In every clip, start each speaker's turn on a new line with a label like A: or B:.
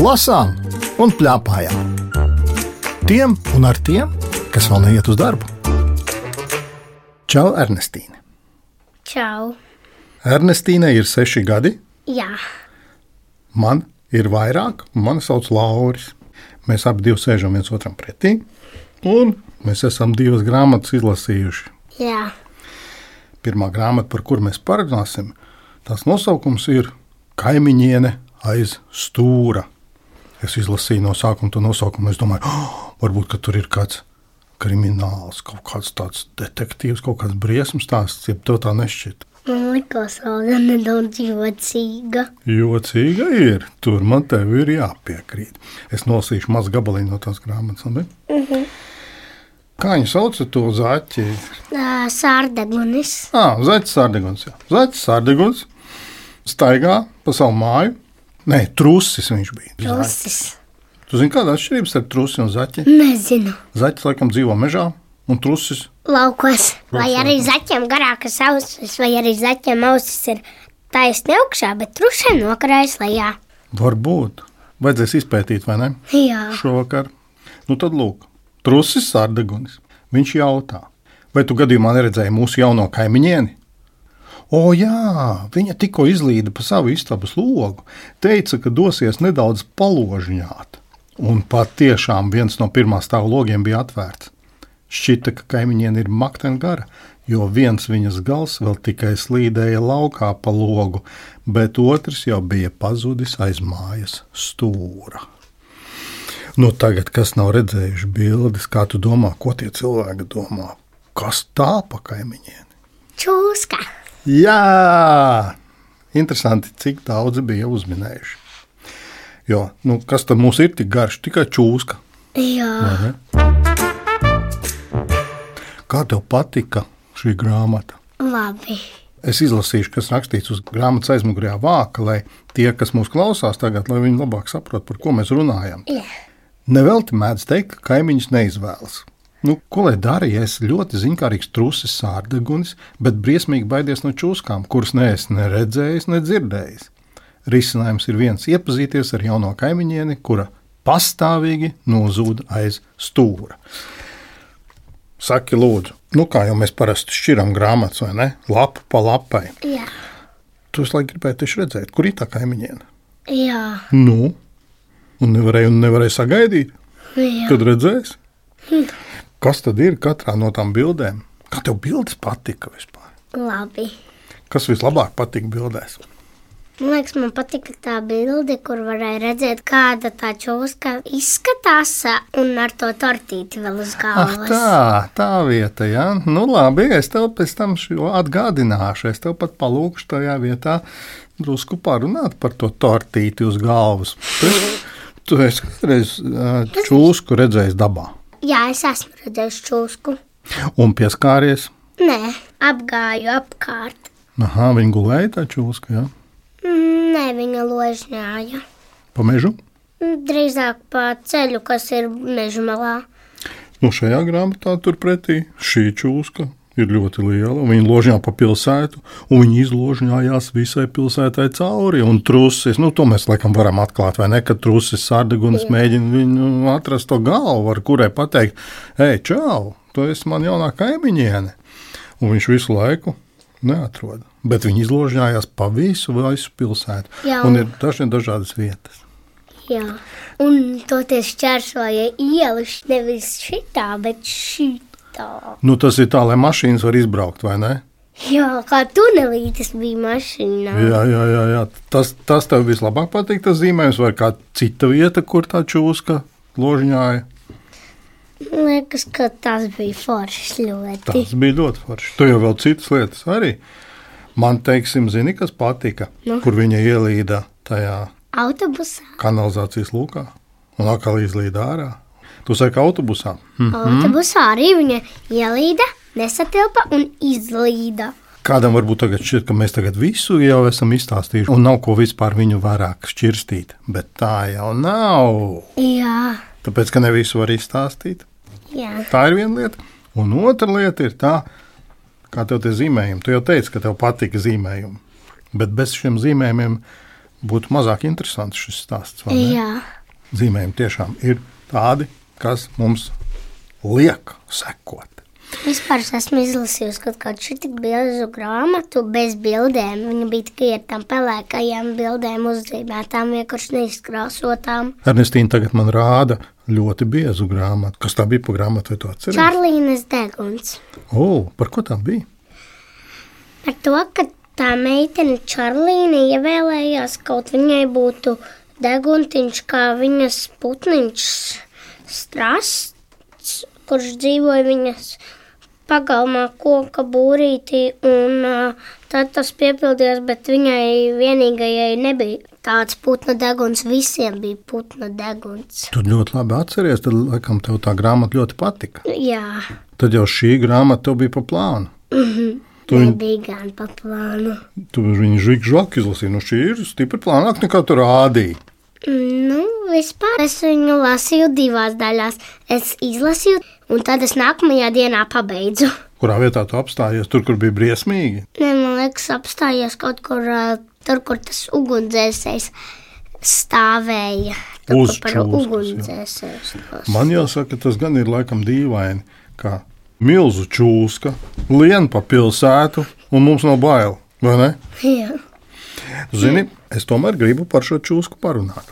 A: lasām un plakājām. Tiem un ar tiem, kas vēl neiet uz darbu. Čau, Ernestīne!
B: Čau!
A: Ernestīne ir seši gadi,
B: Jā,
A: man ir vairāk, un mani sauc Lauris. Mēs abi divi sēžam viens otram pretī, un mēs esam divas grāmatas izlasījuši.
B: jā.
A: Pirmā grāmata, par kuru mēs parunāsim, tās nosaukums ir Kaimiņiene aiz stūra. Es izlasīju no sākuma to nosaukumu. Es domāju, oh, varbūt ka tur ir kāds krimināls, kaut kāds tāds detektīvs, kaut kāds briesmu stāsts, ja tev tā nešķiet.
B: Man liekas, Olga nedaudz jocīga.
A: Jocīga ir. Tur man tev ir jāpiekrīt. Es nolasīšu mazu gabaliņu no tās grāmatas. labi? Kā viņi sauc to zaķi?
B: Ā, Sārdegunis.
A: Ah, Zaķis Sārdeguns. jā. Zaķis Sārdeguns staigā pa savu māju. Nē, trusis viņš bija. Zaķis.
B: Puses.
A: Tu zini, kāda ir atšķirība starp trusi un zaķi?
B: Nezinu.
A: Zaķis laikam dzīvo mežā, un trusis
B: Laukos. Vai arī zaķiem garākas ausis, vai arī zaķiem ausis ir taisni augšā, bet trušiem nokarājas lejā.
A: var būt. Vajadzēs izpētīt, vai ne?
B: Jā,
A: Šovakar. Nu tad lūk, trusis Sārdegunis. Viņš jautā, vai tu gadījumā neredzēji mūsu jauno kaimiņieni? O, jā, viņa tikko izlīda pa savu istabas logu, teica, ka dosies nedaudz paložņāt. Un patiešām viens no pirmā stāva logiem bija atvērts. Šķita, ka kaimiņiene ir makten gara, jo viens viņas gals vēl tikai slīdēja laukā pa logu, bet otrs jau bija pazudis aiz mājas stūra. Nu, tagad, kas nav redzējuši bildes, kā tu domā, ko tie cilvēki domā? Kas tā pa kaimiņiem?
B: čūska.
A: Jā, interesanti, cik daudzi bija uzminējuši. Jo, nu, kas tad mums ir tik garš, tikai čūska?
B: Jā,
A: Kā tev patika šī grāmata?
B: labi.
A: Es izlasīšu, kas rakstīts uz grāmatas aizmugurējā vāka, lai tie, kas mūs klausās tagad, lai viņi labāk saprotu, par ko mēs runājam.
B: Jā.
A: Nevelti mēdz teikt, ka kaimiņš neizvēlas. Nu, ko lai dara, ja es ļoti zinkārīgs trusis, sārdegunis, bet briesmīgi baidies no čūskām, kuras neesmu ne redzējis, ne dzirdējis? Risinājums ir viens - iepazīties ar jauno kaimiņieni, kura pastāvīgi nozūd aiz stūra. Saki, lūdzu, nu kā jau mēs parasti šķiram grāmatas, vai ne? Lapu pa lapai.
B: Jā,
A: Tu visu laiku gribēji tieši redzēt, kur ir tā kaimiņiene.
B: jā,
A: Nu, un nevarēju, un nevarēju sagaidīt.
B: jā.
A: Kad redzēs, kas tad ir katrā no tām bildēm? Kā tev bildes patika vispār?
B: labi.
A: Kas vislabāk patika bildēs?
B: Man liekas, man patika tā bilde, kur varēja redzēt, kāda tā čūska izskatās, un ar to tortīti vēl uz
A: Ah,
B: galvas.
A: tā, tā vieta, jā. Nu, labi, es tev pēc tam šo atgādināšu. Es tev pat palūkšu tajā vietā drusku parunāt par to tortīti uz galvas. Tu, tu esi kādreiz ā, čūsku redzējis dabā
B: Jā, es esmu redzējis čūsku.
A: un pieskāries.
B: Nē, apgāju apkārt.
A: Aha, viņa gulēja tā čūska, jā.
B: Mm, Nē, viņa ložņāja.
A: Pa mežu.
B: Mm, Drīzāk pa ceļu, kas ir meža malā.
A: Nu, šajā grāmatā turpretī šī čūska ir ļoti liela. Viņa ložņā pa pilsētu, un viņa izložņājās visai pilsētai cauri. Un trusis, nu, to mēs laikam varam atklāt, vai ne? Kad trusis sārdegunis mēģina viņu atrast to galvu, ar kurai pateikt, hei, čau, tu esi man jaunā kaimiņiene. Un viņš visu laiku neatrod. Bet viņi izložņājās pa visu, visu pilsētu.
B: Jā,
A: Un
B: un-
A: ir dažni dažādas vietas.
B: Jā. Un toties čērsoja ielas nevis šitā, bet šitā.
A: Nu, tas ir tā, lai mašīnas var izbraukt, vai ne?
B: Jā, kā tunelītis bija mašīnā.
A: Jā, jā, jā, jā. Tas, tas tev vislabāk patīk, tas zīmējums, vai kāda cita vieta, kur tā čūska ložņāja.
B: Man liekas, ka tas bija foršs ļoti.
A: Tas bija ļoti forši. Tur jau vēl citas lietas arī. Man, teiksim, zini, kas patika, nu.
B: Nu?
A: kur viņa ielīda tajā
B: Autobusā,
A: kanalizācijas lūkā un atkal izlīda ārā. Tu saki, autobusā. Hm.
B: autobusā arī viņa ielīda, nesatilpa un izlīda.
A: Kādam varbūt tagad šķiet, ka mēs tagad visu jau esam izstāstījuši, un nav ko vispār viņu vairāk šķirstīt, bet tā jau nav.
B: Jā,
A: Tāpēc, ka ne visu var izstāstīt.
B: jā.
A: Tā ir viena lieta. Un otra lieta ir tā, kā tev tie zīmējumi. Tu jau teici, ka tev patika zīmējumi. Bet bez šiem zīmējumiem būtu mazāk interesants šis stāsts. vai ne?
B: Jā,
A: zīmējumi tiešām ir tādi, kas mums liek sekot.
B: Vispār es esmu izlasījusi kaut kādu šitik bilžu grāmatu bez bildēm. Viņa bija tikai ar tām pelēkajām bildēm uzzīmētām, vienkārši neizkrāsotām.
A: Ernestīna tagad man rāda ļoti biezu grāmatu. Kas tā bija par grāmatu, vai tu atceries?
B: Čārlīnas deguns.
A: O, par ko tā bija?
B: Par to, ka tā meitene Čārlīna ievēlējās kaut viņai būtu deguntiņš, kā viņas putniņš strasts, kurš dzīvoja viņas pagalmā koka būrītī, un uh, tad tas piepildījās, bet viņai vienīgajai nebija tāds putna deguns, visiem bija putna deguns.
A: Tu ļoti labi atceries, tad laikam tev tā grāmata ļoti patika.
B: Jā,
A: Tad jau šī grāmata tev bija pa plānu. Tu viņu-
B: nebija gan pa plānu.
A: Tu viņu žigžāk izlasīji, nu šī ir stipri plānāk nekā tu rādīji.
B: Nu, vispār es viņu lasīju divās daļās. Es izlasīju, un tad es nākamajā dienā pabeidzu.
A: Kurā vietā tu apstājies, tur, kur bija briesmīgi?
B: Nē, man liekas, apstājies kaut kur ā, tur, kur tas ugunsdzēsējs stāvēja. Tur, kur par
A: Uzčūskas, jā.
B: ugunsdzēsēju.
A: Man jāsaka, tas gan ir laikam dīvaini, ka milzu čūska lien pa pilsētu, un mums nav bail. vai ne?
B: Jā.
A: Zini, es tomēr gribu par šo čūsku parunāt.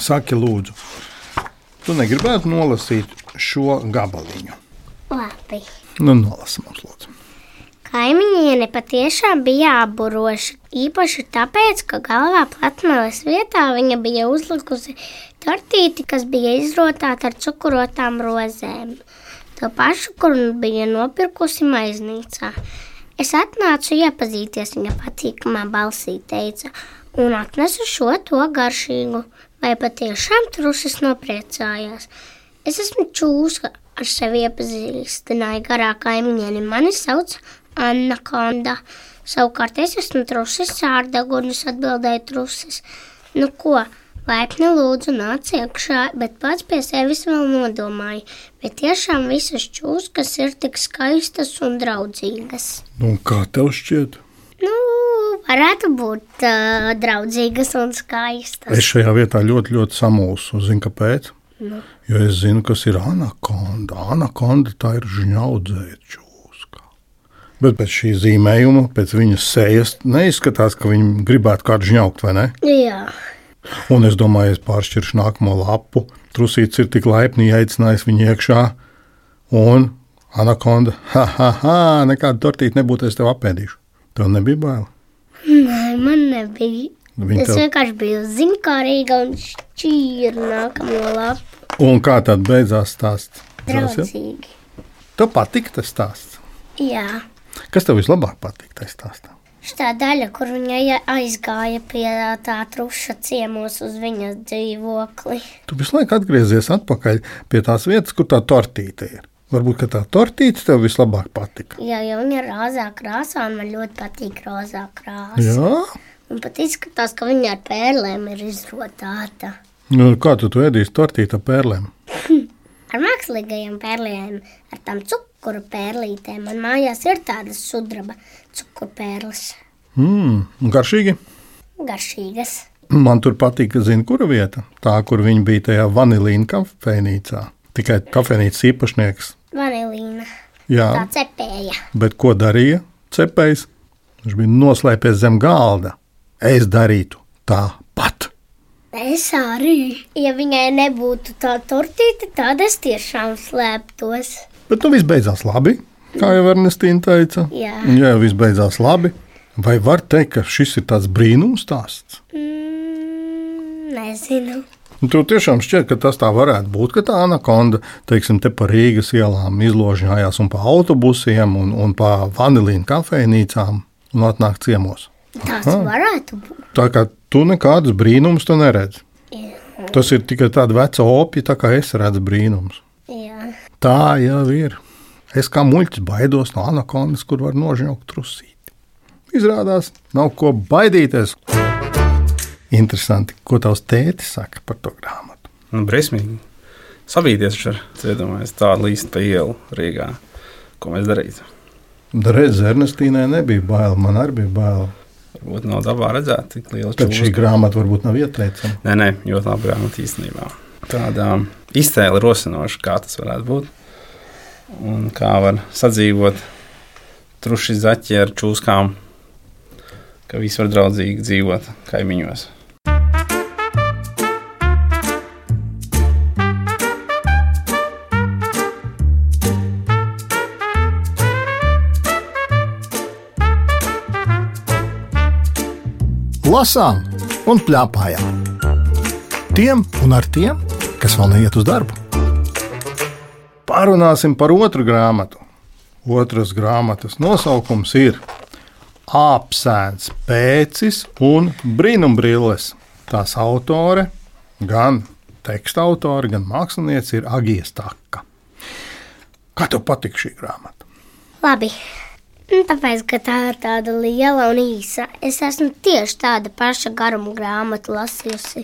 A: Saki, lūdzu, tu negribētu nolasīt šo gabaliņu.
B: Labi.
A: Nu, nolasi mums, lūdzu.
B: Kaimiņiene patiešām bija apburoša. Īpaši tāpēc, ka galvā platmales vietā viņa bija uzlikusi tortīti, kas bija izrotāta ar cukurotām rozēm. To pašu, kur bija nopirkusi maiznīcā. Es atnācu iepazīties, viņa patīkamā balsī teica, un atnesu šo to garšīgu. Vai patiešām trusis nopriecājās? Es esmu čūska, ar sevi iepazīstināja garā kaimiņiene. Mani sauc Anna Konda. Savukārt es esmu trusis sārdagunis, atbildēja trusis. Nu ko, laipni lūdzu nāc iekšā, bet pats pie sevis vēl nodomāja, vai tiešām visas čūskas ir tik skaistas un draudzīgas.
A: Nu, un kā tev šķiet?
B: Nu, varētu būt uh, draudzīgas un skaistas.
A: Es šajā vietā ļoti, ļoti samulsu. Zini, kāpēc?
B: Nu.
A: Jo es zinu, kas ir anakonda. Anakonda tā ir žņaudzēja čūska. Bet pēc šī zīmējuma, pēc viņas sejas, neizskatās, ka viņa gribētu kādu žņaukt, vai ne?
B: Jā,
A: Un es domāju, es pāršķiršu nākamo lapu. Trusīts ir tik laipni aicinājis viņu iekšā, un anakonda, ha, ha, ha, nekāda tortīta nebūtu, es tev apēdīšu. Tev nebija bail.
B: nē, man nebija.
A: Viņa
B: Es
A: tev...
B: vienkārši biju zinkārīga un šķīra nākamo lapu.
A: Un kā tad beidzās stāsts? Zasi?
B: Draudzīgi.
A: Tev patika tas stāsts.
B: Jā.
A: Kas tev vislabāk patīk tajā stāstā?
B: Šitā daļa, kur viņa aizgāja pie tā truša ciemos uz viņas dzīvokli.
A: Tu visu laiku atgriezies atpakaļ pie tās vietas, kur tā tortīte ir. Varbūt ka tā tortīte tev vislabāk patika.
B: Jā, jau viņa ir rozā krāsā, un man ļoti patīk rozā krāsa.
A: Jā,
B: Man pat izskatās, ka viņa ar pērlēm ir izrotāta.
A: nu, kā tu, tu ēdīsi tortīti ar pērlēm?
B: Ar mākslīgajiem pērlēm, ar tām cukuru pērlītēm. Man mājās ir tādas sudraba cukuru pērles,
A: Mmm, garšīgi.
B: garšīgas.
A: Man tur patīk, zina, kura vieta. Tā, kur viņi bija tajā vanilīna kafejnīcā. Tikai kafejnīcas īpašnieks.
B: Vanilīna,
A: Jā,
B: tā cepēja.
A: bet ko darīja cepējs? Viņš bija noslēpies zem galda. Es darītu tāpat.
B: Es arī. Ja viņai nebūtu tā tortīte, tad es tiešām slēptos.
A: Bet nu viss beidzās labi, kā jau Ernestīna teica.
B: Jā.
A: Jā, viss beidzās labi. Vai var teikt, ka šis ir tāds brīnums stāsts?
B: Mm, nezinu.
A: Nu, Tev tiešām šķiet, ka tas tā varētu būt, ka tā anakonda, teiksim, te pa Rīgas ielām izložņājās un pa autobusiem un, un pa vanilīnu kafejnīcām un atnāk ciemos.
B: Tas
A: Aha.
B: varētu būt.
A: Tā kā tu nekādus brīnumus tu neredzi.
B: Jā.
A: Tas ir tikai tāds vecs opija, tā kā es redzu brīnumus.
B: Jā.
A: Tā jau ir. Es kā muļķis baidos no anakondas, kur var nožņaukt trusīti. Izrādās, nav ko baidīties. Interesanti, ko tavs tēti saka par to grāmatu.
C: Nu, briesmīgi. Savīties ar iedomājos, tādu līstu pa ielu Rīgā. Ko mēs darītu?
A: Reiz Ernestīnai nebija bail, man arī bija bail.
C: Varbūt nav dabā redzēt tik lielu
A: Tad šī
C: čūsku.
A: grāmata varbūt nav ieteicama.
C: Nē, nē, ļoti labi grāmatā īstenībā. tāda izteikti rosinoša, kā tas varētu būt. Un kā var sadzīvot truši zaķi ar čūskām, ka visi var draudzīgi dzīvot kaimiņos.
A: lasām un plēpājām. Tiem un ar tiem, kas vēl neiet uz darbu. Parunāsim par otru grāmatu. Otras grāmatas nosaukums ir Apsēns, pēcis un brīnumbrilles. Tās autore, gan teksta autore, gan māksliniece ir Agija Staka. Kā tev patīk šī grāmata?
B: Labi. Nu, Tāpēc, ka tā ir tāda liela un īsa. Es esmu tieši tāda paša garuma grāmata lasījusi.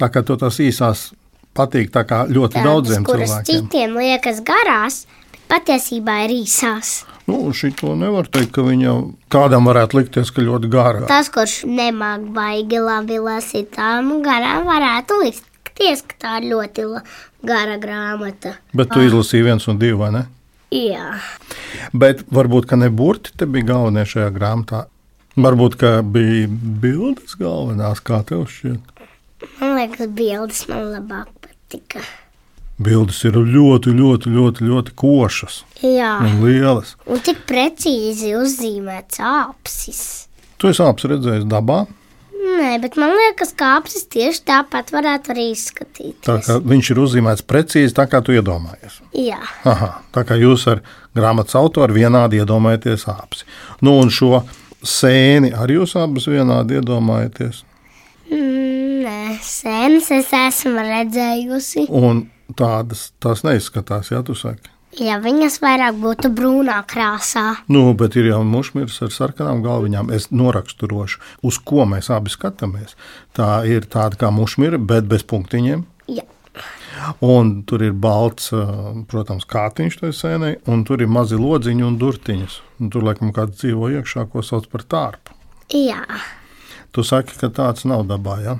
A: Tā kā to tās īsās patīk tā kā ļoti
B: Tādas,
A: daudziem
B: kuras
A: cilvēkiem.
B: citiem liekas garās, bet patiesībā ir īsās.
A: Nu, šī to nevar teikt, ka viņa kādam varētu likties, ka ļoti gara.
B: Tas, kurš nemāķi baigi labi lasīt, tam garām varētu likties, ka tā ir ļoti la- gara grāmata.
A: Bet tu izlasīji viens un divi, vai ne?
B: Jā,
A: Bet varbūt, ka ne burti te bija galvenie šajā grāmatā. Varbūt, ka bija bildes galvenās, kā tev šķiet.
B: man liekas, bildes man labāk patika.
A: Bildes ir ļoti, ļoti, ļoti, ļoti košas
B: Jā,
A: un lielas.
B: un tik precīzi uzzīmēts apsis.
A: Tu esi apsi redzējis dabā,
B: Nē, bet man liekas, ka apsis tieši tāpat varētu arī izskatīties.
A: tā kā viņš ir uzzīmēts precīzi tā, kā tu iedomājies.
B: Jā,
A: Aha, tā kā jūs ar grāmatas autoru vienādi iedomājaties apsi. Nu, un šo sēni arī jūs abas vienādi iedomājaties.
B: Mm, nē, sēnes es esmu redzējusi.
A: Un tādas tās neizskatās, ja tu saki.
B: Ja viņas vairāk būtu brūnā krāsā,
A: Nu, bet ir jau mušmirs ar sarkanām galviņām. Es noraksturošu, uz ko mēs abi skatāmies. Tā ir tāda kā mušmira, bet bez punktiņiem.
B: jā.
A: Un tur ir balts, eh, protams, kātiņš tajā sēnē, un tur ir mazi lodziņi un durtiņas. Un tur laikam kāds dzīvo iekšā, ko sauc par tārpu.
B: jā.
A: Tu saki, ka tāds nav dabā, ja?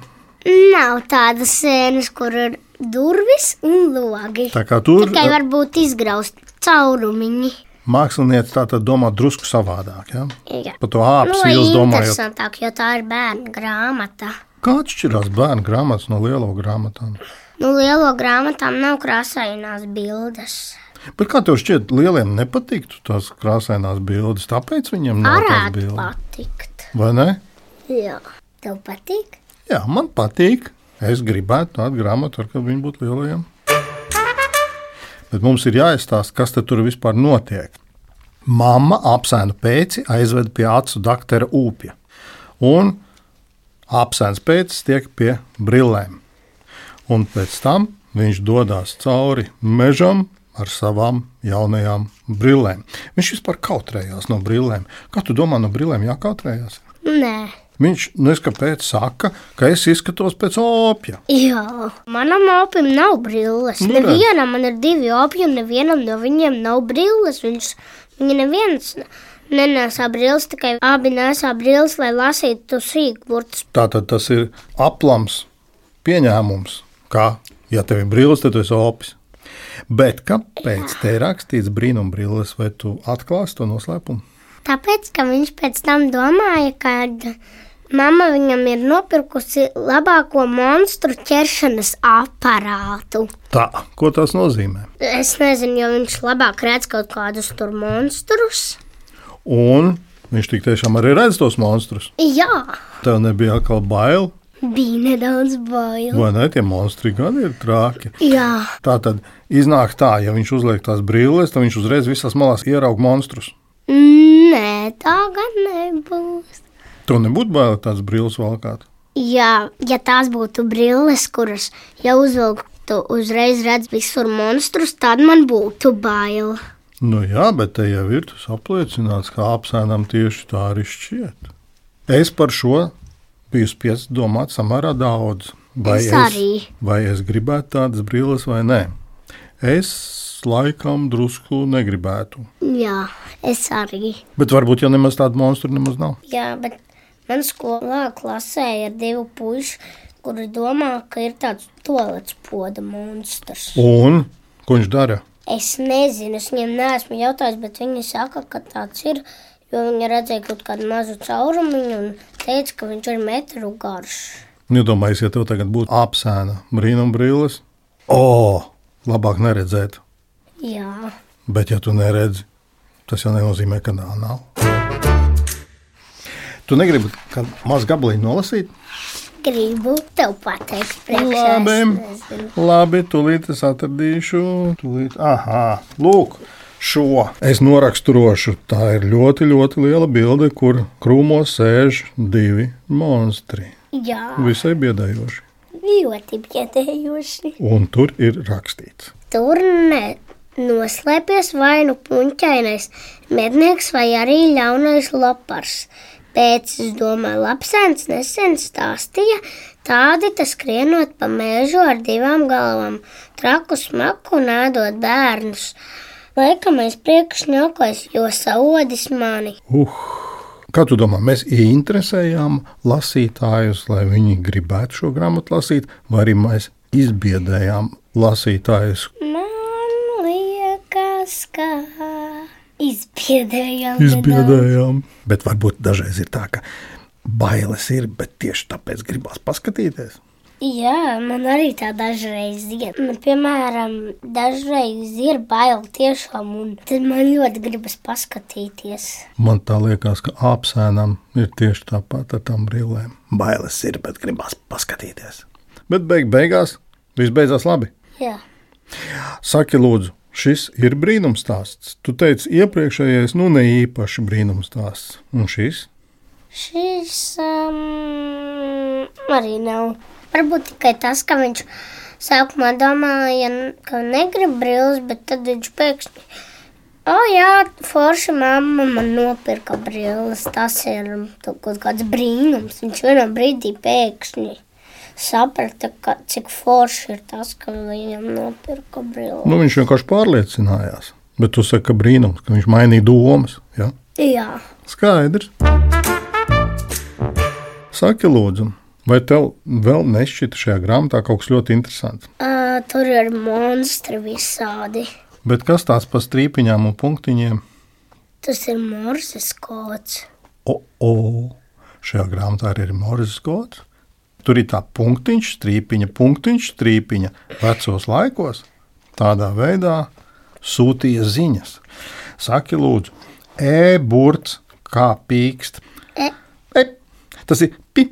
B: Nav tādas sēnes, kur ir durvis un logi.
A: Tā kā tur
B: Tikai
A: eh,
B: varbūt izgraust caurumiņi.
A: mākslinieci tā tad domā drusku savādāk, ja?
B: Jā.
A: Par to āpsi
B: lai
A: jūs domājat.
B: interesantāk, jo tā ir bērnu grāmata.
A: Kā atšķirās bērnu grāmatas no lielo grāmatām?
B: Nu, lielo grāmatām nav krāsainās bildes.
A: Bet kā tev šķiet, lieliem nepatiktu tās krāsainās bildes? Tāpēc viņiem nav tādas
B: Arādi
A: bildes.
B: patikt.
A: Vai ne?
B: Jā. Tev patīk?
A: Jā, man patīk. Es gribētu tādu grāmatu, ar kādu viņi būtu lielajiem. Bet mums ir jāizstāsta, kas te tur vispār notiek. Mama apsēnu pēci aizved pie acu doktora Upja. Un apsēns pēcis tiek pie brillēm. Un pēc tam viņš dodas cauri mežam ar savām jaunajām brillēm. Viņš vispār kautrējās no brillēm. Kā tu domā, no brillēm jākautrējās?
B: Nē.
A: Viņš neskaidrs saka, ka es izskatos pēc opija.
B: Jā, manam opim nav brilles.
A: Nu,
B: Nu,
A: redz.
B: nevienam man ir divi opi, un nevienam no viņiem nav brilles. Viņš, viņa neviens nesā brilles, tikai abi nesā brilles, lai lasītu sīkburtus.
A: Tātad tas ir aplams pieņēmums, ka, ja tev ir brīvs, tad tu esi opis. Bet kāpēc te ir rakstīts brīnumbrīlis, vai tu atklāsi to noslēpumu?
B: Tāpēc, ka viņš pēc tam domāja, ka mamma viņam ir nopirkusi labāko monstru ķeršanas aparātu.
A: Tā, ko tas nozīmē?
B: Es nezinu, jo viņš labāk redz kaut kādus tur monstrus.
A: Un viņš tik tiešām arī redz tos monstrus.
B: Jā,
A: Tev nebija atkal bail,
B: bija nedaudz bail.
A: vai ne? Tie monstri gan ir trāki.
B: Jā.
A: Tā tad iznāk tā, ja viņš uzliek tās brīvības, tad viņš uzreiz visās malās ieraug monstrus.
B: Nē, tā gan nebūs.
A: Tev nebūtu bail tās brīvības valkāt.
B: Jā, ja tās būtu brilles, kuras jau uzvilktu uzreiz redz visur monstrus, tad man būtu bail.
A: Nu jā, bet te jau ir tas apliecināts, ka apsēnam tieši tā arī šķiet. Es par šo biju spiests domāt samērā daudz. Vai
B: Es arī.
A: vai es gribētu tādas brilles vai nē? Es laikam drusku negribētu.
B: Jā, es arī.
A: Bet varbūt jau nemaz tādu monstru nemaz nav.
B: Jā, bet man skolā klasē ir divi puiši. kuri domā, ka ir tāds tolets poda monstrs.
A: Un ko viņš dara?
B: Es nezinu, es viņiem neesmu jautājis, bet viņi saka, ka tāds ir. Jo viņi redzēja kaut kādu mazu caurumu un teica, ka viņš ir metru garš.
A: Iedomājieties, Nu, ja tev tagad būtu apsēna brīnumbrīlis. O, labāk neredzēt.
B: Jā,
A: Bet, ja tu neredzi, tas jau nenozīmē, ka tā nav. Tu negribi kādu mazu gabaliņu nolasīt?
B: gribu tev pateikt, priekšā.
A: Labi.
B: es nezinu.
A: Labi, tūlīt es atradīšu. Tūlīt. Aha, lūk, šo es noraksturošu. Tā ir ļoti, ļoti liela bilde, kur krūmos sēž divi monstri.
B: Jā,
A: Visai biedējoši.
B: ļoti biedējoši.
A: Un tur ir rakstīts.
B: Tur ne, noslēpjas vai nu puņķainais mednieks vai arī ļaunais lapars. Pēc, es domāju, lapsēns nesen stāstīja, tādi tas skrienot pa mēžu ar divām galvām, traku smaku un ēdot bērnus. Laikamais priekšņokais, jo saodis mani.
A: Uh, kā tu domā, mēs ieinteresējām lasītājus, lai viņi gribētu šo grāmatu lasīt, vai arī mēs izbiedējām lasītājus?
B: Man liekas, ka izbiedējām.
A: Izbiedējām. Bet varbūt dažreiz ir tā, ka bailes ir, bet tieši tāpēc gribās paskatīties.
B: nu, Jā, man arī tā dažreiz ir. Man, piemēram, dažreiz ir bail tiešām, un tad man ļoti gribas paskatīties.
A: Man tā liekas, ka apsēnam ir tieši tāpat ar tām brīvēm. Bailes ir, bet gribās paskatīties. Bet beig beigās viss beidzās labi.
B: Jā,
A: Saki, lūdzu, šis ir brīnumstāsts. Tu teici, iepriekšējais, nu ne īpaši brīnumstāsts. Un šis?
B: šis um, arī nav. Varbūt tikai tas, ka viņš sākumā domāja, ka negrib brīvs, bet tad viņš pēkšņi. O, jā, forši mamma man nopirka brīvs. Tas ir tu- kaut kāds brīnums. Viņš vienā brīdī pēkšņi saprata, ka, cik forši ir tas, ka viņam nopirka brīvs.
A: Nu, viņš vienkārši pārliecinājās. Bet tu saki, ka brīnums, ka viņš mainīja domas. Ja?
B: Jā,
A: Skaidrs. Saki, lūdzu, vai tev vēl nešķita šajā grāmatā kaut kas ļoti interesants?
B: uh, tur ir monstri visādi.
A: Bet kas tāds par strīpiņām un punktiņiem?
B: Tas ir morses kods.
A: O, o, šajā grāmatā arī ir Morris Gods. Tur ir tā punktiņš, strīpiņa, punktiņš, strīpiņa. Vecos laikos tādā veidā sūtīja ziņas. Saki, lūdzu, e-burts kā pīkst.
B: E.
A: E. Tas ir pi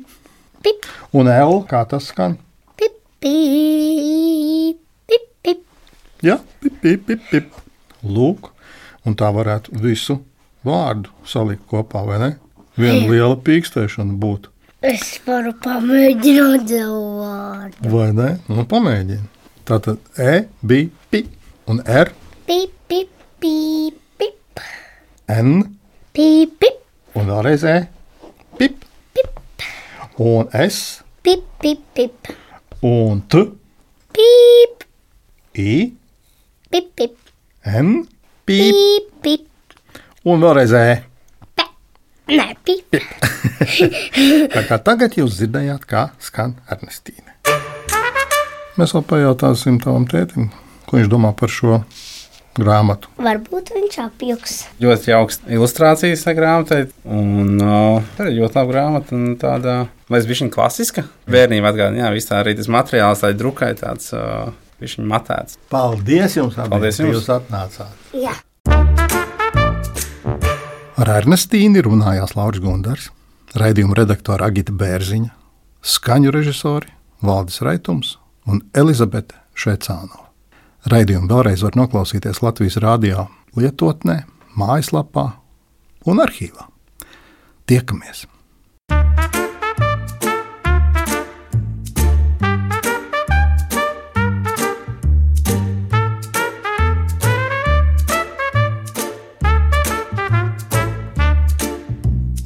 B: Pip,
A: un l, kā tas skan.
B: pip, pip, pip, pip.
A: Jā, pip, pip, pip, pip. Lūk, un tā varētu visu vārdu salikt kopā, vai ne? Viena liela pīkstēšana būtu.
B: Es varu pamēģināt dzīvot.
A: Vai ne? Nu, pamēģini. Tā tad E bija P, un R,
B: Pip, pip, pip, pip,
A: N,
B: pip, pip,
A: un vēlreiz E, pip, pip. un S,
B: pip, pip, pip,
A: un T,
B: pip,
A: I,
B: pip, pip,
A: N, P,
B: pip, pip.
A: un vēlreiz E.
B: Nē, pip.
A: Tā kā tagad jūs dzirdējāt, kā skan Ernestīne. Mēs vēl pajautāsim tavam tētim, ko viņš domā par šo grāmatu.
B: Varbūt viņš apjuks.
C: Ļoti jauks ilustrācijas tā grāmatai. Un, o, tā ir ļoti laba grāmata. un Tāda mazliet klasiska. Bērnība atgādina, jā, viss tā arī tas materiāls, tā ir drukai tāds. Viņš ir matēts.
A: Paldies jums, abiem,
C: Paldies
A: ka
C: jums.
A: jūs atnācāt!
B: Jā.
A: Ar Ernestīnu runājās Lauris Gundars, raidījuma redaktora Agita Bērziņa, skaņu režisori Valdis Raitums un Elizabete Šveicānova. Raidījumu vēlreiz var noklausīties Latvijas rādio lietotnē, mājaslapā un arhīvā. Tiekamies!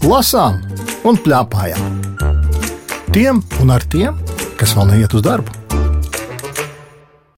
A: lasām un plēpājām. Tiem un ar tiem, kas vēl neiet uz darbu.